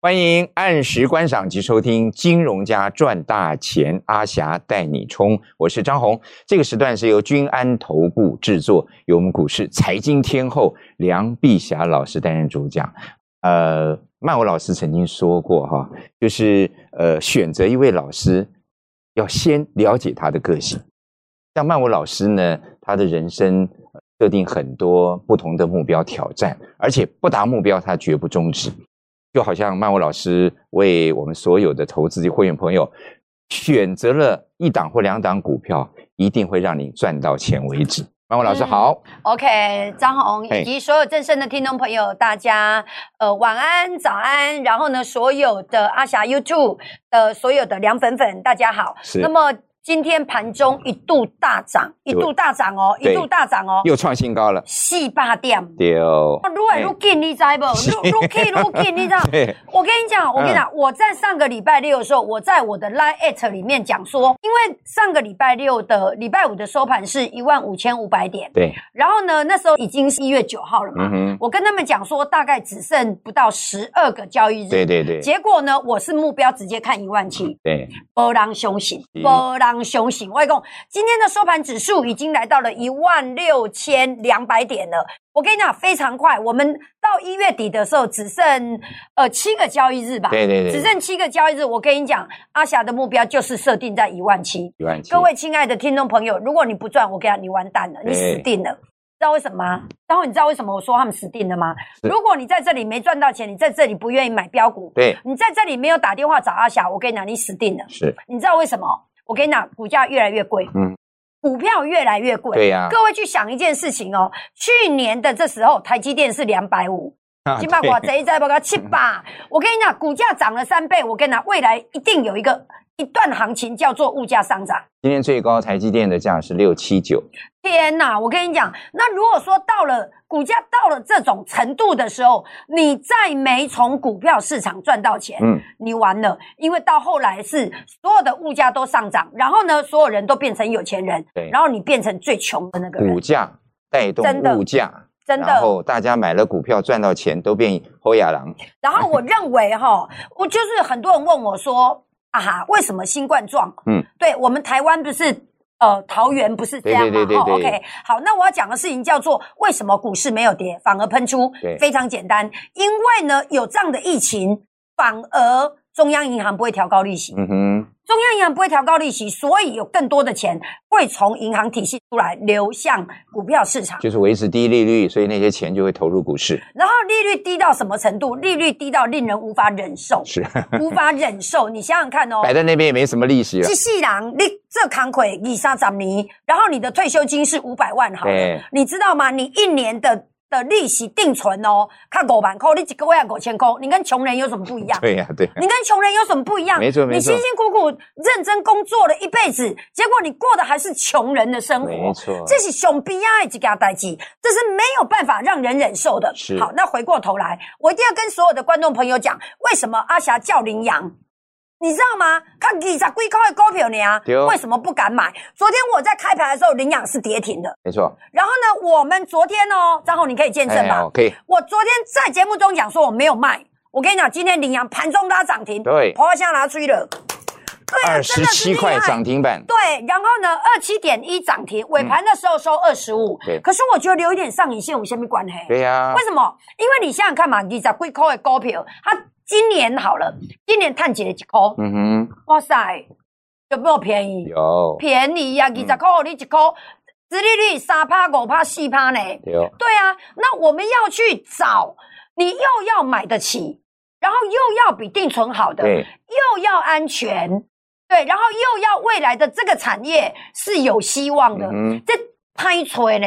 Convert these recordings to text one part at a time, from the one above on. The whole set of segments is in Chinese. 欢迎按时观赏及收听《金融家赚大钱》，阿霞带你冲，我是张红。这个时段是由君安投顾制作，由我们股市财经天后梁碧霞老师担任主讲。呃，曼舞老师曾经说过哈，就是呃，选择一位老师要先了解他的个性。像曼舞老师呢，他的人生设定很多不同的目标挑战，而且不达目标他绝不终止。就好像曼舞老师为我们所有的投资会员朋友选择了一档或两档股票，一定会让你赚到钱为止。曼舞老师好， OK，张红嘿以及所有正声的听众朋友，大家呃晚安、早安，然后呢，所有的阿霞 YouTube 的所有的凉粉粉，大家好。是那么今天盘中一度大涨，一度大涨哦，对一度大涨哦，又创新高了，四八点。对哦啊，愈来愈紧，你知不？是愈愈紧愈紧，你知道？对，我跟你讲，我跟你讲，我在上个礼拜六的时候，我在我的 Line at 里面讲说，因为上个礼拜六的礼拜五的收盘是一万五千五百点，对，然后呢，那时候已经是一月九号了嘛，嗯哼，我跟他们讲说大概只剩不到十二个交易日。对对嗯对，结果呢，我是目标直接看一万七，对，波浪凶醒，嗯波浪凶醒。外公，今天的收盘指数已经来到了一万六千两百点了。我跟你讲，非常快，我们到一月底的时候只剩呃七个交易日吧，对对对只剩七个交易日。我跟你讲，阿霞的目标就是设定在一万七，一万七，各位亲爱的听众朋友，如果你不赚，我跟你讲，你完蛋了，你对死定了。知道为什么吗？嗯然后你知道为什么我说他们死定了吗？是如果你在这里没赚到钱，你在这里不愿意买标股，对，你在这里没有打电话找阿霞，我跟你讲，你死定了。是，你知道为什么？我跟你讲，股价越来越贵，嗯，股票越来越贵。对啊呀各位去想一件事情哦，去年的这时候，台积电是两百五，啊金马股对这一再报告七八，我跟你讲，股价涨了三倍，我跟你讲，未来一定有一个一段行情叫做物价上涨。今天最高台积电的价是六七九，天呐，我跟你讲，那如果说到了股价到了这种程度的时候，你再没从股票市场赚到钱，嗯，你完了，因为到后来是所有的物价都上涨，然后呢，所有人都变成有钱人，对然后你变成最穷的那个人股，价带动真的物价，真的。然后大家买了股票赚到钱都变侯亚郎，然后我认为哈，我就是很多人问我说啊哈，为什么新冠状？嗯嗯，对我们台湾不是呃桃园不是这样嘛？对对对对哦对，OK，好，那我要讲的事情叫做为什么股市没有跌，反而喷出对？非常简单，因为呢有这样的疫情，反而中央银行不会调高利息。嗯哼，中央银行不会调高利息，所以有更多的钱会从银行体系出来流向股票市场。就是维持低利率，所以那些钱就会投入股市，然后利率低到什么程度？利率低到令人无法忍受，是无法忍受。你想想看哦，摆在那边也没什么利息了这，细人你这扛魁你上涨你，然后你的退休金是五百万好了对，你知道吗？你一年的的利息定存哦，看五万块，你一个月五千块，你跟穷人有什么不一样？对呀、对、你跟穷人有什么不一样？没错没错你辛辛苦苦认真工作了一辈子，结果你过的还是穷人的生没活。错，这是熊逼啊，一家代际，这是没有办法让人忍受的。是好，那回过头来，我一定要跟所有的观众朋友讲，为什么阿霞叫羚羊？你知道吗？看你才龟块的股票呢对哦，为什么不敢买？昨天我在开盘的时候，羚羊是跌停的。没错，哎然后呢，我们昨天哦，张红你可以见证吧？好可以，我昨天在节目中讲说我没有卖，我跟你讲，今天羚羊盘中拉涨停，对跑下拿去了，对啊，二真十的是七厉害块涨停板，对，然后呢，二七点一涨停，尾盘的时候收二十五对。可是我觉得留一点上影线，我先没关黑。对啊呀、为什么？因为你想想看嘛，你在贵扣的股票，它今年好了，今年探几一扣，嗯哼，哇塞，有没有便宜？有嗯便宜呀、啊，二十块你一块，殖利率三趴、五趴、四趴呢。有，对啊，那我们要去找你又要买得起，然后又要比定存好的，对，哎又要安全，对，然后又要未来的这个产业是有希望的，嗯哼，这拍锤呢。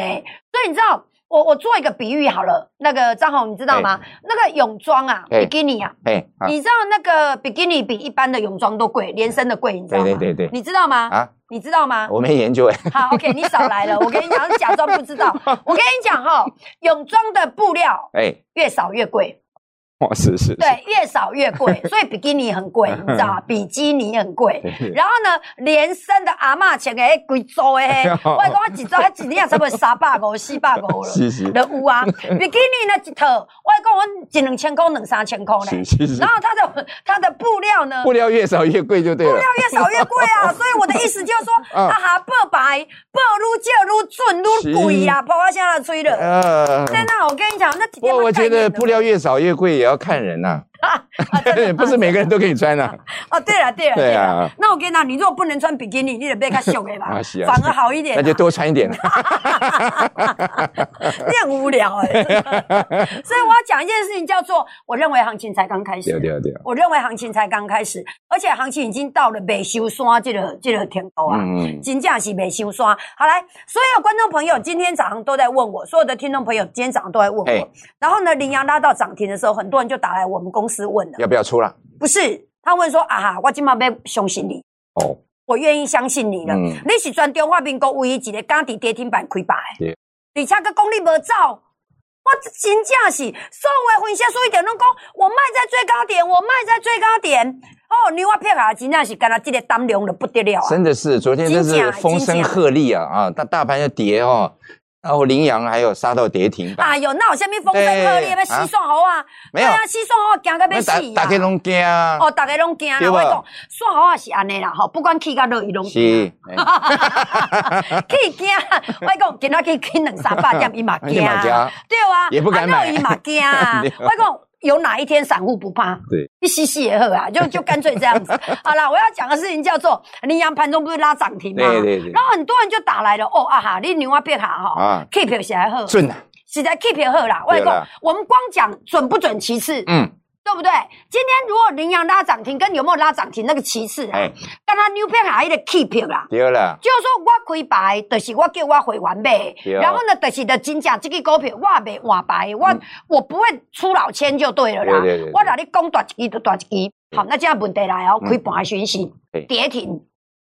所以你知道，我我做一个比喻好了，那个张红，你知道吗？那个泳装啊，哎比基尼啊，哎啊你知道那个比基尼比一般的泳装都贵，连身的贵，你知道吗？对对对对你知道吗？啊，你知道吗？我没研究哎，好，OK，你少来了。我跟你讲，假装不知道。我跟你讲哈、泳装的布料哎，越少越贵，哦，是是，是嗯对，越少越 贵，所以比基尼很贵，你知道吗？比基尼很贵。对然后呢，连身的阿嬷穿的迄贵州的 那，我讲我一周，我一年也差不多三百五、四百五了，哦是是都有啊。比基尼呢一套，我讲我一两千块、两三千块呢是。是是然，后它的它的布料呢，布料越少越贵就对了。越少越贵 啊，所以我的意思就是说，嗯啊哈，报白报愈借愈准愈贵啊，包括现在吹了。呃，真的，我跟你讲，那几不天过我觉得布不料越少越贵也要看人呐、啊 不是每个人都可以穿呐、哦，对了对了对对啊了，那我跟你讲，你如果不能穿比基尼，你得被他秀给吧 啊是，啊反而好一点啊。那就多穿一点。你很无聊 哎、真的所以我要讲一件事情，叫做我认为行情才刚开始。对啊对对， 我认为行情才刚开始，而且行情已经到了未收山这个这个程度啊。嗯嗯，金价是没修刷。好来，所有观众朋友今天早上都在问我，所有的听众朋友今天早上都在问嘿我。然后呢，羚羊拉到涨停的时候，很多人就打来我们公司问了，要不要出了？不是他问说啊哈，我今晚要相信你，哦，我愿意相信你了。嗯你是全中华民国唯一一个敢伫跌停板开牌的对，而且佮讲你无走。我真正是所有的分析师一点拢讲，我卖在最高点，我卖在最高点。哦，你我骗啊，真正是干那这个胆量的不得了啊！真的是，昨天真金是甲风声鹤唳啊啊！大大盘要跌哦，然后羚羊还有杀到跌停板，哎呦，那有啥物风声鹤唳对要啊死爽猴啊？哎没有对啊，死爽猴惊到要那死打啊！打开龙惊啊！哦，大家拢惊啦！对吧我跟你讲爽猴也是安尼啦，吼，不管起甲落伊拢是哎惊，，起惊。我跟你讲今仔去起两三百 点，伊嘛伊惊嘛惊啊，对啊，也不敢买啊落伊嘛惊 啊对啊。我跟你讲有哪一天散户不怕？对，一吸吸也好啊，就就干脆这 样子。好啦，我要讲的事情叫做羚羊盘中不是拉涨停吗？对对对然后很多人就打来了，哦啊哈，你牛啊变哈啊哈，起票起来好。准啊，实在 keep 也好啦。我跟你对讲啦，我们光讲准不准其次，嗯，对不对？今天如果羚羊拉涨停，跟有没有拉涨停那个其次啊哎，但他 New p a 还的 keep 啦。对了，就是说我开牌，就是我叫我会员买，对啊然后呢，就是的真正这个股票我也没换牌，我、嗯我不会出老千就对了对啦。对对对我让你讲大一支就大一支。好，那这样问题来哦，嗯开盘的讯息对跌停，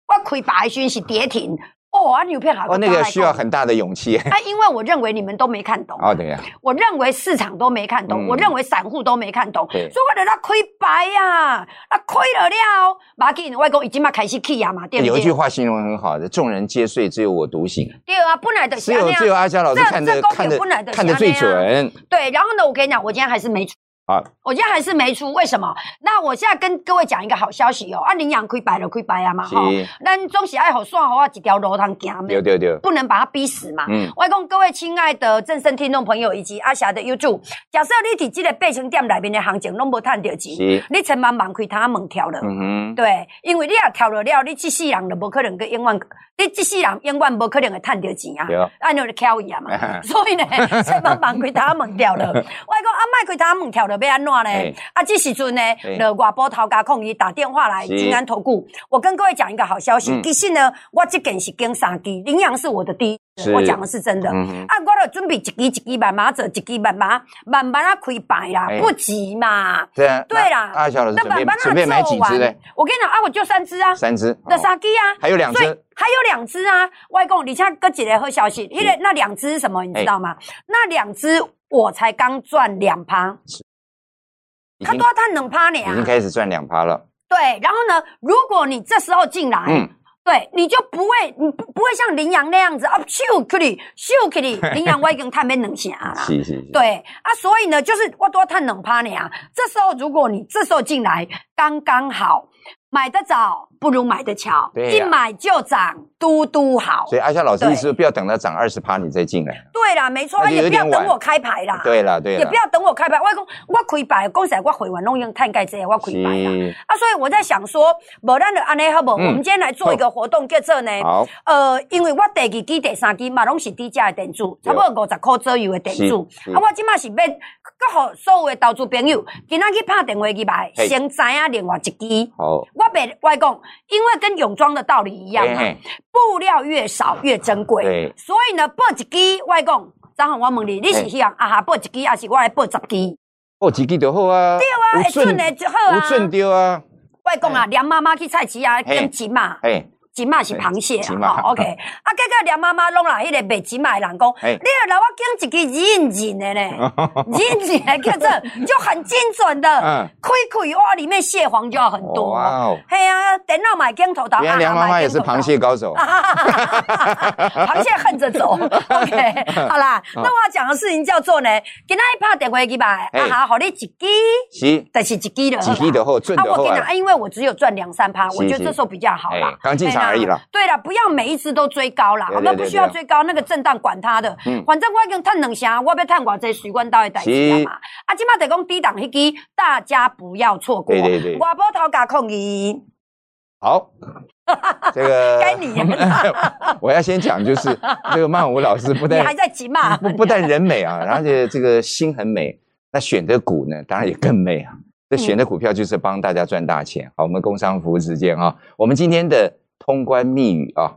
我开牌的讯息跌停，哦，啊牛片还哦，那个需要很大的勇气。 啊，因为我认为你们都没看懂。哦，对呀，我认为市场都没看懂，嗯我认为散户都没看懂，所对以我得他亏白呀、啊，啊亏了了，马紧，外公已经嘛开始气啊嘛，对不有一句对？话形容很好的：众人皆睡，只有我独醒。对啊，本来的只是有这样只有阿娇老师这看的这公平看的本来就是看的最准对，然后呢，我跟你讲，我今天还是没出，啊！我今天还是没出，为什么？那我现在跟各位讲一个好消息哦，啊，领养亏白了，亏白啊嘛是吼，咱总是爱好算好啊，一条路通行对的，对对，不能把它逼死嘛。嗯，外公，各位亲爱的正声听众朋友以及阿霞的 YouTube，假设你伫这个八成点内面的行情拢无赚到钱，是，你千万万开他门跳了。嗯哼，对，因为你也跳落了，你这世人就无可能个永远，你这世人永远无可能会赚到钱啊对，按照就翘伊啊 嘛。所以呢，千万万开他门跳了。我讲啊，莫开他门跳了要安怎哎呢？啊，这时阵呢哎，就外部头家控伊打电话来是金安投顾，我跟各位讲一个好消息嗯，其实呢，我这件是跟三支，羚羊是我的第一支，是我讲的是真的。嗯哼，啊，我就准备一支一支慢慢做，一支慢慢慢慢啊开牌啦哎，不急嘛。对啊，对啦那阿娇老师那准慢备慢准备买啊几做只完呢？我跟你讲啊，我就三只啊，三只，那哦三只啊，还有两只所以还有两只啊。外公，你看，搁几个好消息，因为那两只是什么，你知道吗？哎那两只我才刚赚两趴，已他经都要赚两趴呢已经啊。开始赚两趴了。对，然后呢，如果你这时候进来，嗯，对，你就不会，你不不会像羚羊那样子啊，咻去里，咻去 里，羚羊我已经探免两成啦。是是是，对啊，所以呢，就是我多探冷趴你啊。这时候如果你这时候进来，刚刚好，买得早不如买得巧，对啊一呀买就涨，嘟嘟好所。以阿娇老师对意思是不要等到涨二十趴你再进来。对啦，没错啊那，就有也不要点等晚我开牌啦，对了对啊也了不，要等我开牌。我讲我开牌，讲实在我回完拢用探盖这个，我开牌啦。是啊，所以我在想说，无咱就安尼好不好？嗯我们今天来做一个活动，叫做呢，好，呃，因为我第二支、第三支嘛，拢是低价的电子，差不多五十块左右的电子。是啊，我即马是要搁互所有的投资朋友，今仔去拍电话去买，嘿先知影另外一支。好，我袂，我讲，因为跟泳装的道理一样啊嘿嘛嘿，布料越少越珍贵对，所以呢，报一支，我讲，张宏，我问你，你是嘿希望啊哈报一支，还是我来报十支？哦，几支就好啊，对啊，会有准准的就好啊无。准丢啊，我讲啊，梁妈妈去菜市啊，嘿跟钱嘛，哎，即马是螃蟹即啊，马吼、o k 啊，结果梁妈妈拢来迄个卖即马的人讲，哎你要来我拣一支认 真的呢，认真的叫做就很精准的，嗯开开哇，里面蟹黄就要很多。哇哦，嘿啊，电脑买镜头刀，啊原来梁妈妈也是螃蟹高手， 螃蟹横着 走。OK，好啦，啊那我要讲的事情叫做呢，今天拍电话去吧，嘿啊哈，好你一支，是就是一支就好几啦批的后准啊，的我后跟你讲，啊，因为我只有赚两三趴，是我觉得是这时候比较好啦哎。刚进场哎呀而已啦。对啦，不要每一只都追高啦，对我对们对对不需要对追高，那个震荡管它的嗯。反正我已经探两下，我要探偌济，随管到的代志啊是嘛。啊，今麦得讲低档迄支，大家不要错过。对对对外波头家控议，好，这个 该你 我要先讲，就是这个曼舞老师不你但还在急嘛？ 不不但人美啊，而且这个心很美，那选的股呢，当然也更美啊。这选的股票就是帮大家赚大钱。好，我们工商服务时间啊，我们今天的通关密语啊，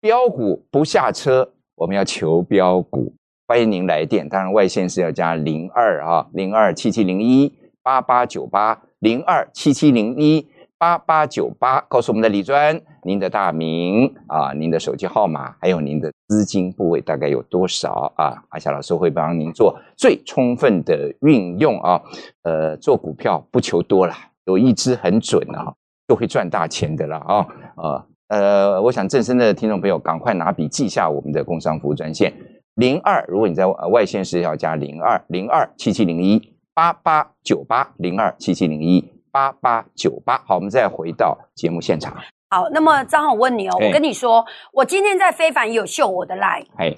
标股不下车，我们要求标股。欢迎您来电，当然外线是要加零二啊，零二七七零一八八九八，零二七七零一八八九八，告诉我们的李专您的大名啊，您的手机号码，还有您的资金部位大概有多少啊？阿霞老师会帮您做最充分的运用啊。呃，做股票不求多啦，有一只很准啊，就会赚大钱的啦啊啊呃，我想正声的听众朋友赶快拿笔记下我们的工商服务专线零二，如果你在呃外线是要加零二零二七七零一八八九八零二七七零一八八九八。好，我们再回到节目现场，好，那么张好我问你哦，哎我跟你说，我今天在非凡也有秀我的 line，哎，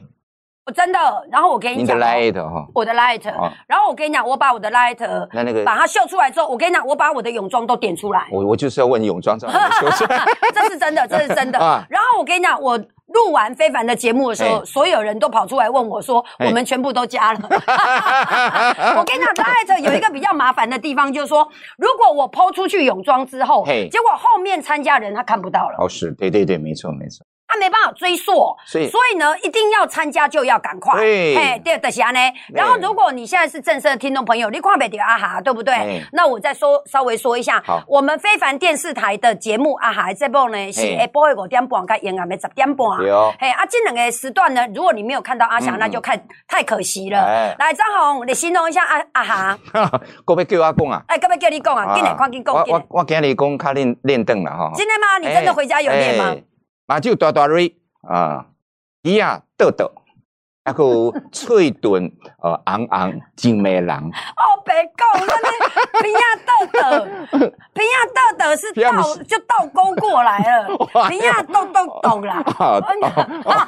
我真的。然后我跟您你的讲哦， light 哈、我的 light，哦，然后我跟你讲，我把我的 light 那那个把它秀出来之后，我跟你讲，我把我的泳装都点出来，我我就是要问泳装照怎么修饰 这是真的，这是真的。 啊，然后我跟你讲，我录完非凡的节目的时候，哎所有人都跑出来问我说，哎我们全部都 加了。我跟你讲，Light 有一个比较麻烦的地方，就是说，如果我抛出去泳装之后，嘿结果后面参加人他看不到了，哦是对对对，没错没错，他没办法追溯。所以所以呢，一定要参加就要赶快。对嘿对，等下呢。然后，如果你现在是正式的听众朋友，你看不到阿哈，对不对哎？那我再说稍微说一下好，我们非凡电视台的节目阿哈这部呢是嘿下播的五点半，跟延晚的十点半。对哦，嘿，啊，这两个时段呢，如果你没有看到阿霞，嗯那就看太可惜了。哎， 来，张红，你形容一下阿阿哈，各位叫我讲啊。哎，干嘛叫你讲啊？进来，快点讲，我进来我。我今日讲较练练凳了哈。真的吗？你真的回家有练吗哎？？马酒大大蕊啊，鸡啊豆豆，还有脆炖呃昂昂金梅郎，哦，别讲，那那平亚豆豆，平亚 豆豆是平亚倒不是就倒钩过来了， 哇平亚豆豆豆 啦，啊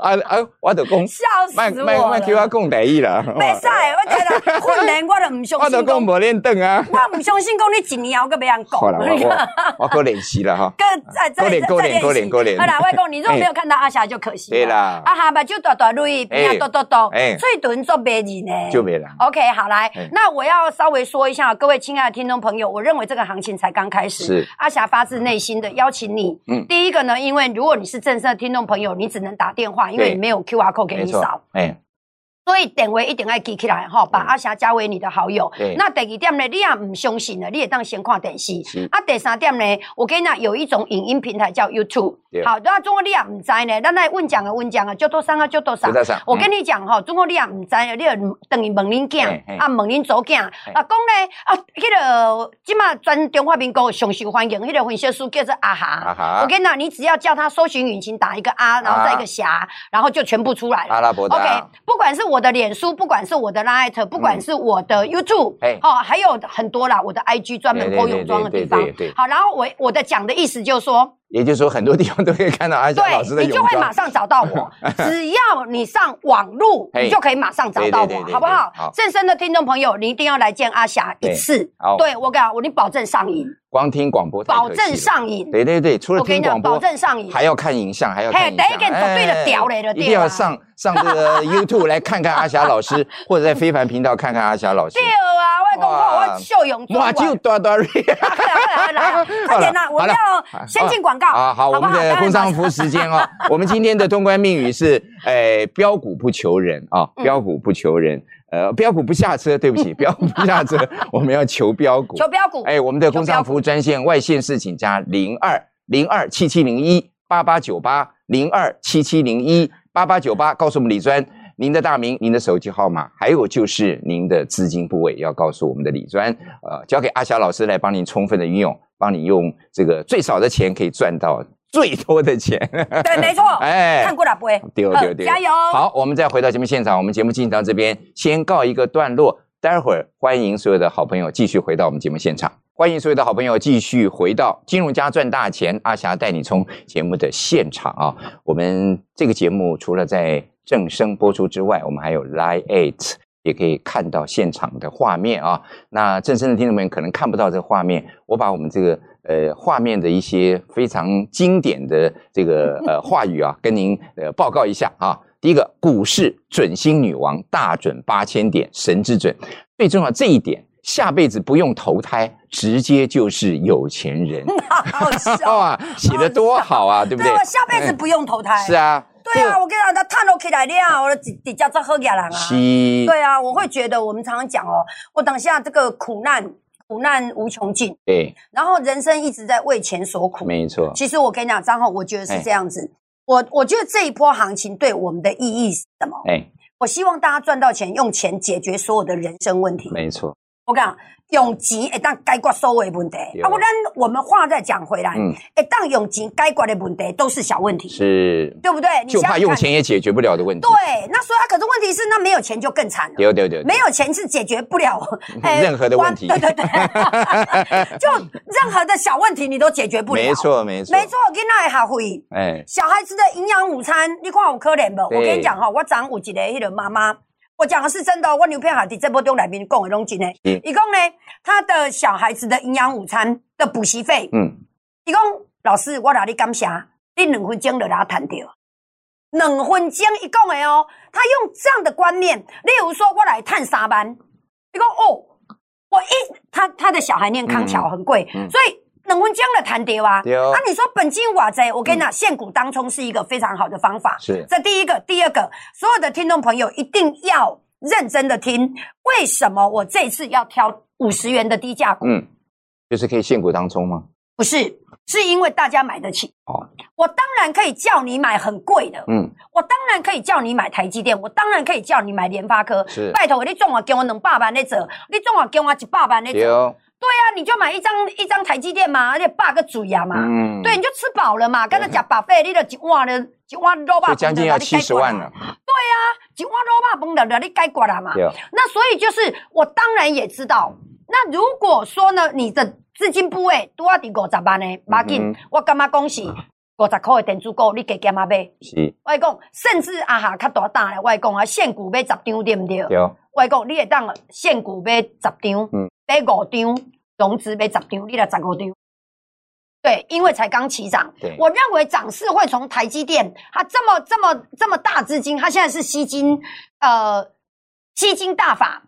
啊啊！我就讲， 笑卖死卖我卖叫我了。讲第一啦，没使，我觉得困难，我都唔相 我就讲信讲，无练凳啊。我唔相信讲你一年后个别人讲好啦，。我我我够练习了哈。 跟再再勾脸再勾再脸练勾习脸勾脸好啦，外公， 你如果没有看到阿霞就可惜了。哎对啦阿霞把就大大瑞，不要哎多多多，哎嘴唇做白人呢。就没了。 OK，好来哎，那我要稍微说一下各位亲爱的听众朋友，我认为这个行情才刚开始。是阿霞发自内心的邀请你。嗯第一个呢，因为如果你是正式的听众朋友，你只能打电话，因为对你没有 QR code 给没你错扫。，哎，所以电话一定要记起来哈，把嗯阿霞加为你的好友对。嗯那第二点呢，你也唔相信呢，你也当先看电视是。啊，第三点呢，我跟你讲，有一种影音平台叫 YouTube 对。好，那中国你也唔知呢，咱来问讲啊，问讲啊，就多上啊，就多上就。多上我跟你讲哈，中国你也唔知呢，你就等于问恁嘿囝嘿啊，问恁祖囝啊，嘿讲呢啊，迄个即马全中华民国上受欢迎，迄个分析师叫做阿啊哈。哈我，跟你讲，你只要叫他搜寻引擎打一个啊，然后再一个霞，然后就全部出来了阿。拉伯的 OK，啊不管是我的脸书，不管是我的 Light，不嗯管是我的 YouTube，、哎哦，还有很多啦，我的 IG 专门对对播对泳装的对地方对对对。好，然后我我的讲的意思就是说，也就是说很多地方都可以看到阿霞老师的对你泳就会马装。上找到 我，只要你上网路，嘿你就可以马上找到对对我，对对好不好对好？正身的听众朋友，你一定要来见阿霞一次好。对我跟你讲，我你保证上瘾，光听广播太保可惜证了上瘾。对对对，除了我跟听你讲，广保播，证上瘾。还要看影像，还要看影像。哎嘿第一个绝对的屌嘞就对了一定要上上这 个 YouTube 来看看阿霞老师，或者在非凡频道看看阿霞老师对。啊，我讲哇我我秀泳装哇，完。就多多瑞快来快来快来，快点啦！我们要先进广告啊！好，我们的工商服务时间 哦，嗯我们今天的通关命语是：哎，标股不求人啊，标股不求人。呃，标股不下车，对不起，标股不下 车，我们要求标股。求标股，哎，我们的工商服务专线外线是请加零二零二七七零一八八九八零二七七零一八八九八，告诉我们李专您的大名、您的手机号码，还有就是您的资金部位要告诉我们的李专，呃，交给阿霞老师来帮您充分的运用，帮你用这个最少的钱可以赚到最多的钱。对，没错，哎看过了不会？丢呃丢丢！加油！好，我们再回到节目现场，我们节目进行到这边，先告一个段落。待会儿欢迎所有的好朋友继续回到我们节目现场，欢迎所有的好朋友继续回到《金融家赚大钱》，阿霞带你冲节目的现场啊。我们这个节目除了在正声播出之外，我们还有 Line Eight。也可以看到现场的画面啊。那正声的听众们可能看不到这个画面，我把我们这个呃画面的一些非常经典的这个呃话语啊，跟您呃报告一下啊。第一个，股市准星女王大准八千点，神之准。最重要这一点，下辈子不用投胎，直接就是有钱 人。好 笑，哇，写的多好啊，哦对不对哦对？我下辈子不用投胎。是啊，对啊，我跟你讲，他探头起来了，我底底下这喝给人啊。西对啊，我会觉得我们常常讲哦，我等下这个苦难苦难无穷尽，对，然后人生一直在为钱所苦。哎没 错，其实我跟你讲，张宏，我觉得哎是这样子。我我觉得这一波行情对我们的意义是什么？哎，我希望大家赚到钱，用钱解决所有的人生问题。没错，我跟你讲，用钱会当解决所有的问题。对哦啊，不然我们话再讲回来，嗯，会当用钱解决的问题都是小问题，是对不对？你就想怕想用看。钱也解决不了的问题。对，那所以啊，可是问题是，那没有钱就更惨了。对对对，对没有钱是解决不了 哎任何的问题关对 对对，就任何的小问题你都解决不了。没，错没错没错，囡仔的学费。哎，小孩子的营养午餐，你看有可怜不？对我跟你讲哈，我昨昏有一个迄个妈妈，我讲的是真的哦，我牛片海伫这波中里面讲的拢真的嗯。一共呢，他的小孩子的营养午餐的补习费，嗯，伊讲老师，我哪里感谢你两分钟就拿谈掉。两分钟一共的哦，他用这样的观念，例如说我来探三班，伊讲哦，我一他他的小孩念康桥很贵，嗯嗯所以两分钟就谈掉啊。对哦嗯啊，你说本金瓦贼，我跟你讲，现股当冲是一个非常好的方法。是这第一个，第二个，所有的听众朋友一定要认真的听，为什么我这次要挑五十元的低价股？嗯，就是可以现股当中吗？不是，是因为大家买得起。哦，我当然可以叫你买很贵的，嗯，我当然可以叫你买台积电，我当然可以叫你买联发科。是拜托，你总啊给我两百万那折，你总啊给我一百万那折，对对哦，啊，你就买一张一张台积电嘛，而且霸个嘴啊嘛，嗯，对，，你就吃饱了嘛，刚才讲把费，你就一碗了，一碗肉吧，就将近要七十万了，一碗肉吧，崩了了，你解决了嘛。对哦，那所以就是，我当然也知道。那如果说呢，你的资金部位多啊，底五十万呢，马紧、嗯啊我感觉恭喜，五十块的电子股你加减啊买。是，我跟你讲，甚至啊哈较大胆的，我跟你讲啊，现股买十张对不对？对哦，我跟你讲，你会当现股买十张，嗯买五张，融资买十张，你来十五张。对，因为才刚起涨对，我认为涨势会从台积电，它这么这么这么大资金，它现在是吸金，呃，吸金大法。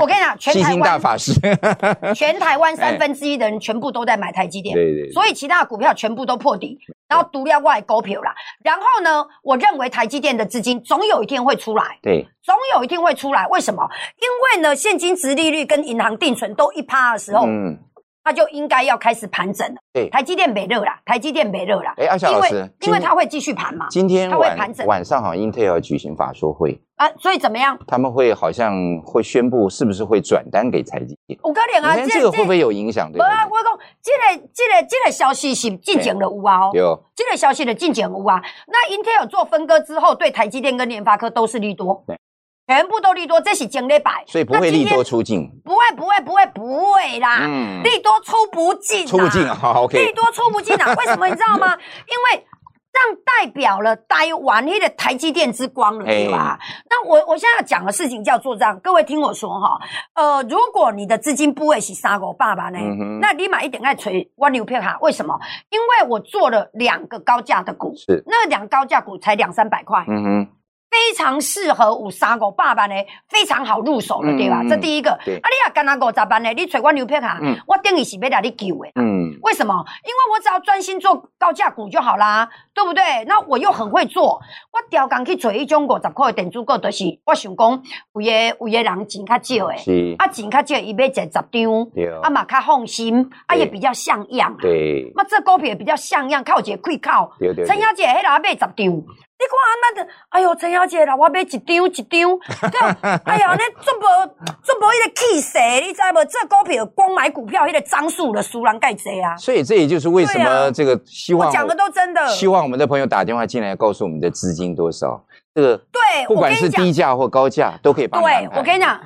我跟你讲，全吸台金大湾法师， 全台湾哎三分之一的人全部都在买台积电，对对，所以其他的股票全部都破底，然后独了外股票啦。然后呢，我认为台积电的资金总有一天会出来，对，总有一天会出来。为什么？因为呢，现金值利率跟银行定存都一趴的时候，嗯，它就应该要开始盘整了。对台积电没热啦，台积电没热啦，哎，阿霞因老为师，因为今它会继续盘嘛今天它会盘晚整晚上好像英特尔举行法说会，啊，所以怎么样？他们会好像会宣布是不是会转单给财经，你我跟你讲啊，看这个会不会有影响？对无不啊，对？我讲这个这个这个消息是进前的有啊哦。对哦，这个消息的进展无啊。那 Intel 做分割之后，对台积电跟联发科都是利多对，全部都利多，这是经历百，所以不会那今利天啊多，出尽，不会不会不会不会啦，嗯，利多出不进，出不进啊，，好，OK，利多出 不进啊，为什么你知道吗？因为。这样代表了台湾那个台积电之光了，哎对吧？那我我现在要讲的事情叫做这样，各位听我说哈，呃，如果你的资金部位是三五爸爸呢，嗯哼那你买一点爱锤蜗牛票卡，为什么？因为我做了两个高价的股，是，那两高价股才两三百块，嗯哼，非常适合五三五八班的，非常好入手了，对吧？嗯嗯这第一个。啊，对你啊，干那五十班的，你找我牛票卡嗯，我等于是要来你救的。嗯，为什么？因为我只要专心做高价股就好啦，对不对？那我又很会做，我调工去找一种五十块的电子股，就是我想讲有的有的人钱较少的，是，啊钱较少，伊买一十张，对，啊嘛较放心，啊对也比较像样啊。对，哦嘛这股票比较像样，靠一个开口。对哦对，陈对小姐迄人买十张，你看安那的，哎哟，陈小姐啦，我买一张一张，对，哎呀，安尼足无足无迄个气势，你知无？这股票光买股票迄、个张数了，输人盖济啊！所以这也就是为什对啊么这个希望我讲的都真的，希望我们的朋友打电话进来告诉我们的资金多少，这个对，不哎我跟管是你讲，低价或高价都可以帮你对安排我跟你讲，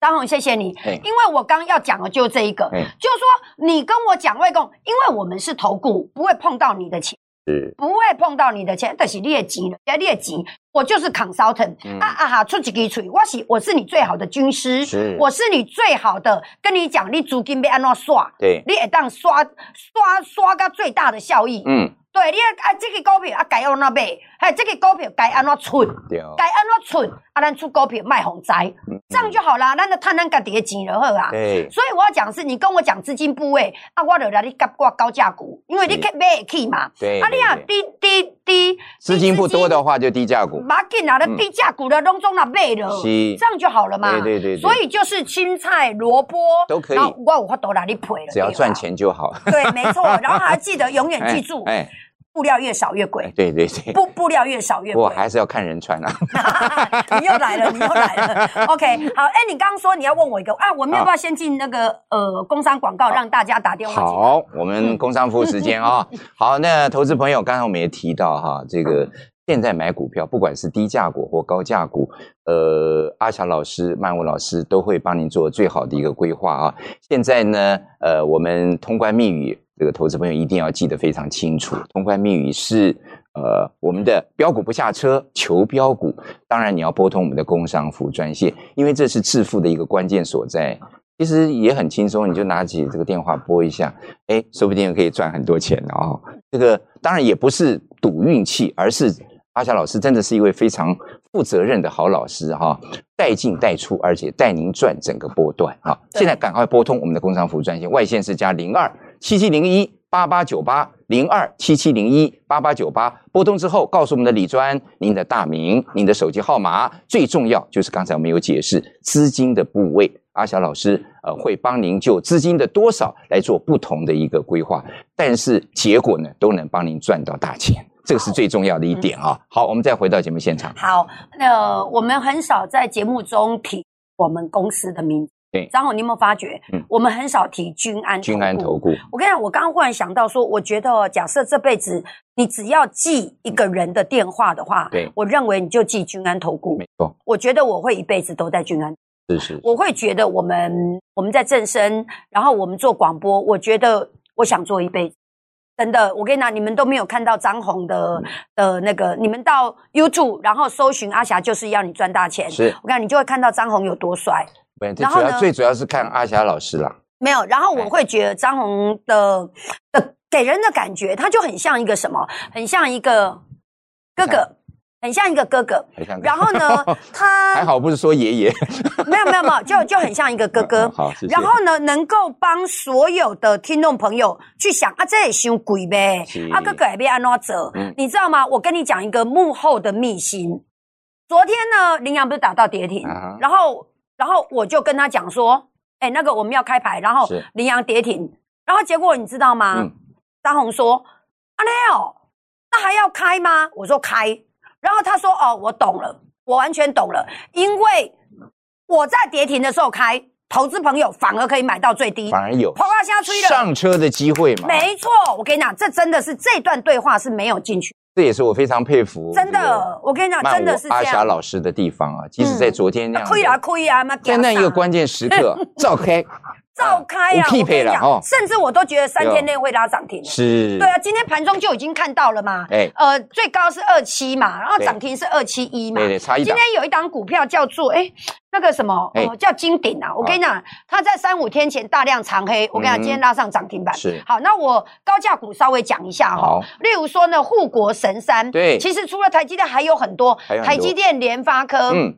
张红，谢谢你，哎因为我刚要讲的就是这一个，哎就是说你跟我讲外公，因为我们是投顾，不会碰到你的钱。是不会碰到你的钱，但是劣级了，要劣级，我就是 consultant，、嗯啊啊哈，出一支嘴，我是我是你最好的军师，是我是你最好的，跟你讲，你租金要安怎刷，对，你会当刷刷刷到最大的效益，嗯，对，你要啊这个股票啊该安怎买，还有这个股票该安怎出，对哦，该安怎出，啊咱出股票卖红灾，嗯这样就好啦，咱就赚咱家己的钱就好啊。对，所以我要讲的是，你跟我讲资金部位啊，我就来你甲我高价股，因为你是可以买得起嘛。对啊，你对啊对低低低，资金不多的话就低价股，马紧啊，那嗯低价股的拢总啦买了，是这样就好了嘛。对对对对所以就是青菜、萝卜都可以然后我有法度来你赔了，只要对吧赚。钱就好。对，没 错。然后还记得永远记住，哎，布料越少越哎贵，对对对，布布料越少越我贵。还是要看人穿啊。你又来了，你又 来了。OK，好，哎，你刚刚说你要问我一个啊，我们要不要先进那个呃工商广告，让大家打电话进来？好，我们工商服务时间 啊、好，那投资朋友，刚才我们也提到哈，这个现在买股票，不管是低价股或高价股，呃，阿霞老师、曼舞老师都会帮您做最好的一个规划啊。现在呢，呃，我们通关密语，这个投资朋友一定要记得非常清楚。通关密语是。呃，我们的标股不下车，求标股。当然，你要拨通我们的工商服务专线，因为这是致富的一个关键所在。其实也很轻松，你就拿起这个电话拨一下，哎，说不定可以赚很多钱哦。这个当然也不是赌运气，而是阿霞老师真的是一位非常负责任的好老师哈、带进带出，而且带您赚整个波段啊。对现在赶快拨通我们的工商服务专线，外线是加零二七七零一八八九八零二七七零一八八九八，拨通之后告诉我们的李专您的大名、您的手机号码，最重要就是刚才我们有解释资金的部位。阿霞老师，呃，会帮您就资金的多少来做不同的一个规划，但是结果呢，都能帮您赚到大钱，这个是最重要的一点啊。好，我们再回到节目现场，嗯好，那我们很少在节目中提我们公司的名字。对张红，你有没有发觉？嗯我们很少提君安。君安投。顾，我跟你讲，我刚刚忽然想到说，我觉得哦假设这辈子你只要记一个人的电话的话，对我认为你就记君安投顾没。错，我觉得我会一辈子都在君安。是是，我会觉得我们我们在正声，然后我们做广播，我觉得我想做一辈子。真的，我跟你讲，你们都没有看到张红的的那个，你们到 YouTube 然后搜寻阿霞，就是要你赚大钱。是，我跟你讲，你就会看到张红有多帅。不然最然主后要呢最主要是看阿霞老师啦，没有，然后我哎会觉得张红的的给人的感觉，他就很像一个什么，很像一个哥哎哥，很像一个哥哥。还看看然后呢， 他还好不是说爷爷没有没有没有，就就很像一个哥 哥。嗯嗯好，谢谢。然后呢，能够帮所有的听众朋友去想啊，这也伤贵呗是，啊，哥哥也被安怎走，嗯你知道吗？我跟你讲一个幕后的秘辛。昨天呢，羚羊不是打到跌停，啊哈然后然后我就跟他讲说，哎、那个我们要开牌，然后是羚羊跌停，然后结果你知道吗？嗯张红说，阿廖，哦那还要开吗？我说开，然后他说哦，我懂了，我完全懂了，因为我在跌停的时候开，投资朋友反而可以买到最低，反而有啪啪下吹了。上车的机会嘛，没错，我跟你讲，这真的是这段对话是没有进去，这也是我非常佩服真这个的，我跟你讲，曼真的舞是这阿霞样。老师的地方啊，即使在昨天那样亏的啊亏啊，妈在那一个怕 关键时刻，召开照开啊！有屁我跟配你了讲哦甚至我都觉得三天内会拉涨停。啊是，对啊，今天盘中就已经看到了嘛。哎呃，最高是二七嘛，然后对涨停是二七一嘛。对对，差一今档天，有一档股票叫做哎、那个什么哎哦，叫金鼎啊。我跟你讲，它在三五天前大量长黑，我跟你嗯讲，今天拉上涨停板。是好，那我高价股稍微讲一下哈、好例如说呢，护国神山，对其实除了台积电还有很多，还有很多台积电、联发科，嗯，哦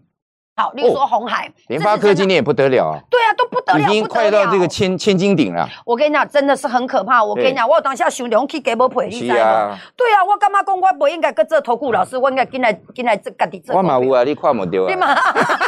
好，例如说红海，联发科今天天也不得了啊，对啊，都不得了，已经不得快到这个了。千千斤顶了，我跟你讲，真的是很可怕。我跟你讲，我有当下想龙去给我赔，你知是道吗？啊，嗯对啊，我干嘛讲我不应该跟这投顾老师，我应该进来进来这家己做我股票。嘛有啊，你看不到你啊，嘛，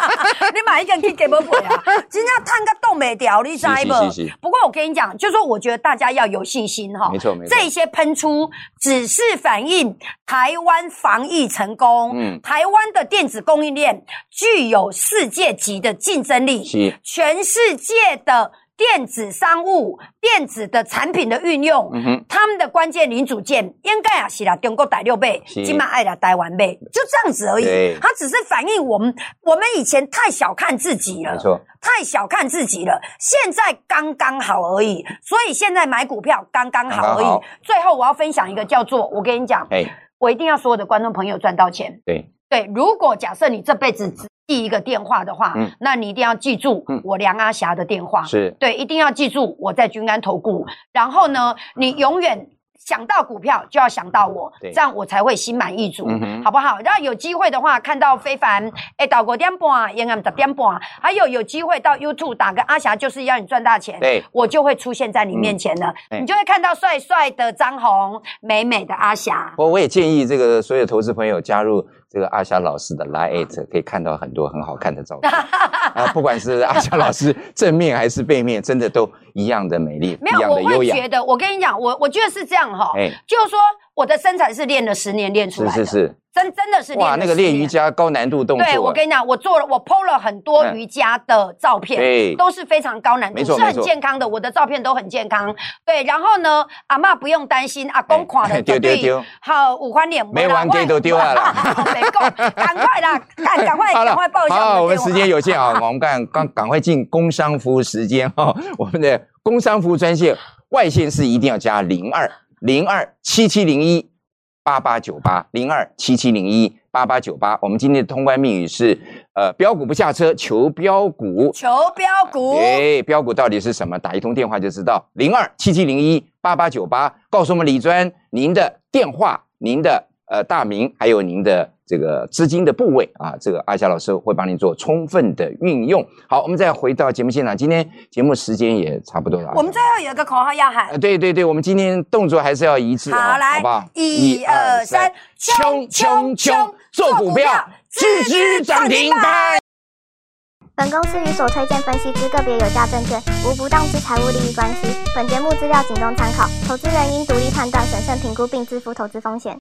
你嘛已经去给我赔 啊！真正趁个冻袂掉，你知是是是无是？不过我跟你讲，就说我觉得大家要有信心哈。没错没错这些喷出只是反映台湾防疫成功，嗯台湾的电子供应链具有世界级的竞争力，是，全世界的电子商务、电子的产品的运用，嗯哼，他们的关键零组件应该也是啦，中国大六倍，是今晚爱啦台湾倍，就这样子而对已。它只是反映我们，我们以前太小看自己了没，错，太小看自己了，现在刚刚好而已。所以现在买股票刚刚好而刚刚好已。最后我要分享一个叫做，我跟你讲，哎，我一定要所有的观众朋友赚到钱。对，对，如果假设你这辈子只记一个电话的话，嗯那你一定要记住嗯我梁阿霞的电话。是，对，一定要记住我在君安投顾。然后呢，你永远想到股票就要想到我对，这样我才会心满意足，嗯哼好不好？然后有机会的话，看到非凡，哎，到五点半，延安十点半，还有有机会到 YouTube 打个阿霞，就是要你赚大钱。对，我就会出现在你面前了，嗯哎你就会看到帅帅的张红，美美的阿霞。我我也建议这个所有投资朋友加入这个阿霞老师的 Line，可以看到很多很好看的照片啊，不管是阿霞老师正面还是背面，真的都一样的美丽， 没一有，样我的优会雅，觉得，我跟你讲，我我觉得是这样哈、哎就是说我的身材是练了十年练出是来的，是是，真真的是练哇，了那个10练年瑜伽高难度动作啊，对，我跟你讲，我做了，我 PO 了很多嗯瑜伽的照片，对都是非常高难没度，错是没很错健康的。我的照片都很健康，对。然后呢，阿嬷不用担心，阿公看哎了 丢绝丢对丢好五花脸，没玩 gay 都丢了啦 没够，赶 快啦，赶赶快好了赶快报一下好，我们电话时间有限 啊，我们赶赶赶快进工商服务时间哈、我们的工商服务专线外线是一定要加零二零二七七零一八八九八零二七七零一八八九八。我们今天的通关密语是呃，标股不下车，求标股。求标股。哎，标股到底是什么？打一通电话就知道，零二七七零一八八九八，告诉我们李专您的电话、您的呃大名，还有您的这个资金的部位啊，这个阿霞老师会帮您做充分的运用。好，我们再回到节目现场，今天节目时间也差不多了啊。我们最后有一个口号要喊呃，，对对对，我们今天动作还是要一致啊，好来好不好？一二三，冲冲冲，做股票，支支涨停板。本公司与所推荐分析之个别有价证券无不当之财务利益关系。本节目资料仅供参考，投资人应独立判断、审慎评估并自负投资风险。